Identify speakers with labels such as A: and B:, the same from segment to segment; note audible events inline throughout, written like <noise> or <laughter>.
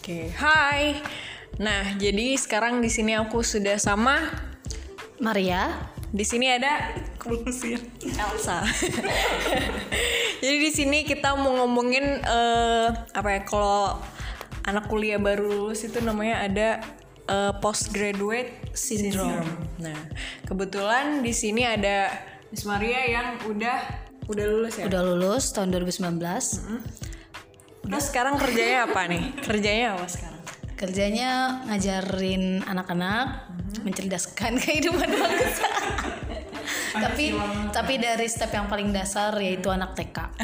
A: Oke, hai. Nah, jadi sekarang di sini aku sudah sama.
B: Maria,
A: Di sini ada Elsa. <laughs> jadi di sini kita mau ngomongin eh, apa ya? Kalau anak kuliah baru lulus itu namanya ada eh, postgraduate syndrome. Nah, kebetulan di sini ada Miss Maria yang udah udah lulus ya.
B: udah lulus tahun 2019.
A: Terus sekarang kerjanya apa nih? Kerjanya apa sekarang?
B: Kerjanya ngajarin anak-anak mencerdaskan <laughs> kehidupan bangsa. <laughs> tapi tapi dari step yang paling dasar yaitu anak TK.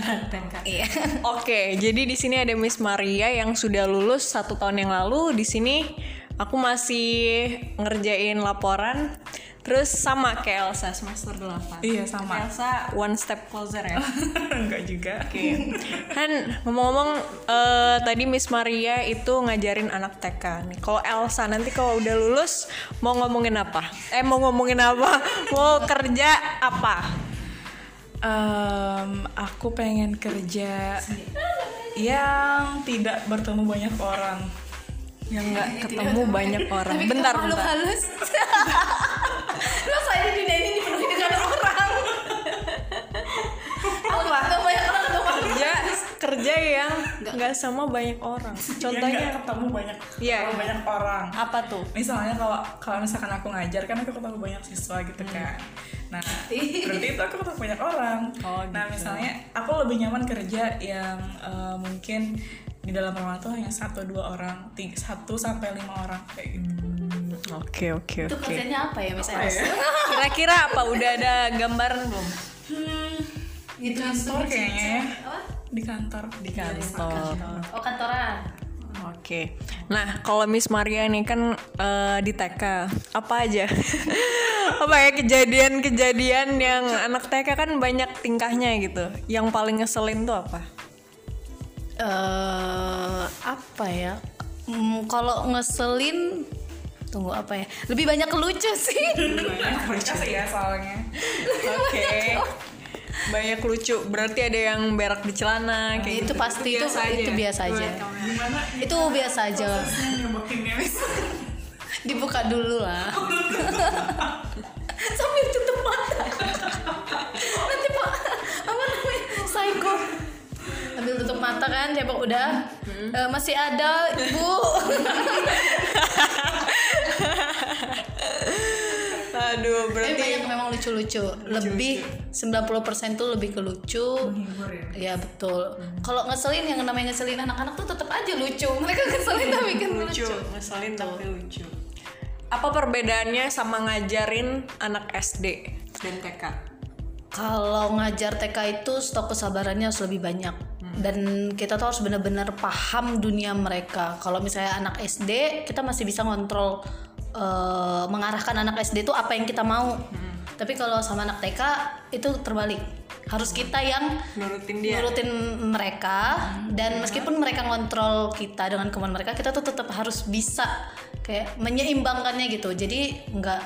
B: Iya.
A: Oke, jadi di sini ada Miss Maria yang sudah lulus satu tahun yang lalu. Di sini aku masih ngerjain laporan. Terus sama kayak Elsa semester 8.
C: Iya, sama.
A: Elsa one step closer <laughs> ya.
C: <laughs> Enggak juga.
A: Oke. Kan ngomong-ngomong eh, tadi Miss Maria itu ngajarin anak TK nih. Kalau Elsa nanti kalau udah lulus mau ngomongin apa? Eh mau ngomongin apa? <laughs> Mau kerja apa?
C: Em, aku pengen kerja yang tidak bertemu banyak orang.
A: Yang nggak ketemu banyak
B: <laughs>
A: orang. Bentar, bentar.
B: halus. Lo saya di dunia ini dipenuhi dengan orang. Apa? banyak orang
A: kerja kerja yang nggak sama banyak orang
C: Yang
A: contohnya
C: nggak ketemu banyak
A: Iya.
C: ketemu banyak orang.
A: apa tuh
C: Misalnya kalau kalau misalkan aku ngajar kan aku ketemu banyak siswa gitu kan. Nah, <laughs> berarti itu aku ketemu banyak orang.
A: Oh,
C: Nah,
A: gitu.
C: misalnya aku lebih nyaman kerja yang eh, mungkin di dalam ruangan tuh hanya satu dua orang, tiga- satu sampai lima orang kayak gitu.
A: oke oke
B: Itu
A: oke
B: kerjanya apa ya Miss Elis?
A: kira-kira apa udah ada gambaran belum
C: Di kantor kayaknya ya.
B: Apa?
C: Di kantor.
A: di kantor
B: Oh kantoran.
A: oke nah kalau Miss Maria nih kan eh, di TK apa aja <laughs> apa ya kejadian-kejadian yang anak TK kan banyak tingkahnya gitu yang paling ngeselin tuh apa
B: eh apa ya? Hmm, kalau ngeselin tunggu apa ya? Lebih banyak lucu
A: <laughs>
B: sih.
C: <laughs> Banyak kerja sih ya soalnya.
A: oke banyak lucu berarti ada yang berak di celana kayak
B: Nah, itu
A: gitu.
B: pasti itu
A: biasa aja
B: itu
A: ya?
B: biasa aja.
C: Gimana
B: Itu biasa aja.
C: nyobokinnya Miss?
B: <laughs> Dibuka dulu lah. <laughs> Sambil tutup mata. Nanti pak apa namanya? Psycho. Sambil tutup mata kan, siapa udah
A: Hmm.
B: Eh, masih ada ibu.
A: <laughs> Aduh,
B: Tapi
A: berarti
B: banyak memang lucu-lucu. Lebih 90% tuh lebih ke lucu. ya. betul. Kalau ngeselin yang namanya ngeselin anak-anak tuh tetap aja lucu. Mereka ngeselin tapi kan lucu.
A: ngeselin tapi lucu. Apa perbedaannya sama ngajarin anak SD dan TK?
B: Kalau ngajar TK itu stok kesabarannya harus lebih banyak. Dan kita tuh harus benar-benar paham dunia mereka. Kalau misalnya anak SD, kita masih bisa ngontrol eh, mengarahkan anak SD itu apa yang kita mau. Tapi kalau sama anak TK itu terbalik. Harus kita yang
A: Nurutin dia.
B: nurutin mereka dan meskipun mereka ngontrol kita dengan kemauan mereka kita tuh tetap harus bisa kayak menyeimbangkannya gitu jadi nggak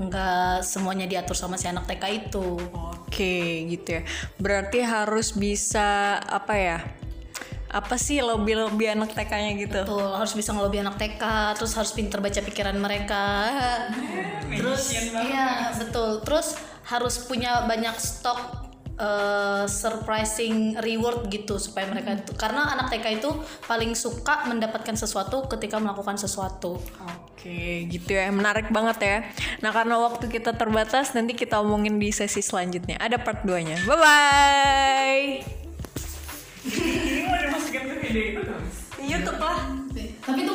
B: nggak semuanya diatur sama si anak TK itu
A: Oke, gitu ya. Berarti harus bisa apa ya? Apa sih lebih-lebih anak TK-nya gitu?
B: tuh harus bisa ngelobi anak TK terus harus pinter baca pikiran mereka terus iya betul terus harus punya banyak stok eh, surprising reward gitu supaya mereka itu karena anak TK itu paling suka mendapatkan sesuatu ketika melakukan sesuatu
A: Oke, gitu ya. Menarik banget ya. Nah, karena waktu kita terbatas, nanti kita omongin di sesi selanjutnya. Ada part 2-nya. Bye-bye.
C: Ini mau dimasukin ke video itu.
A: YouTube lah.
B: tapi itu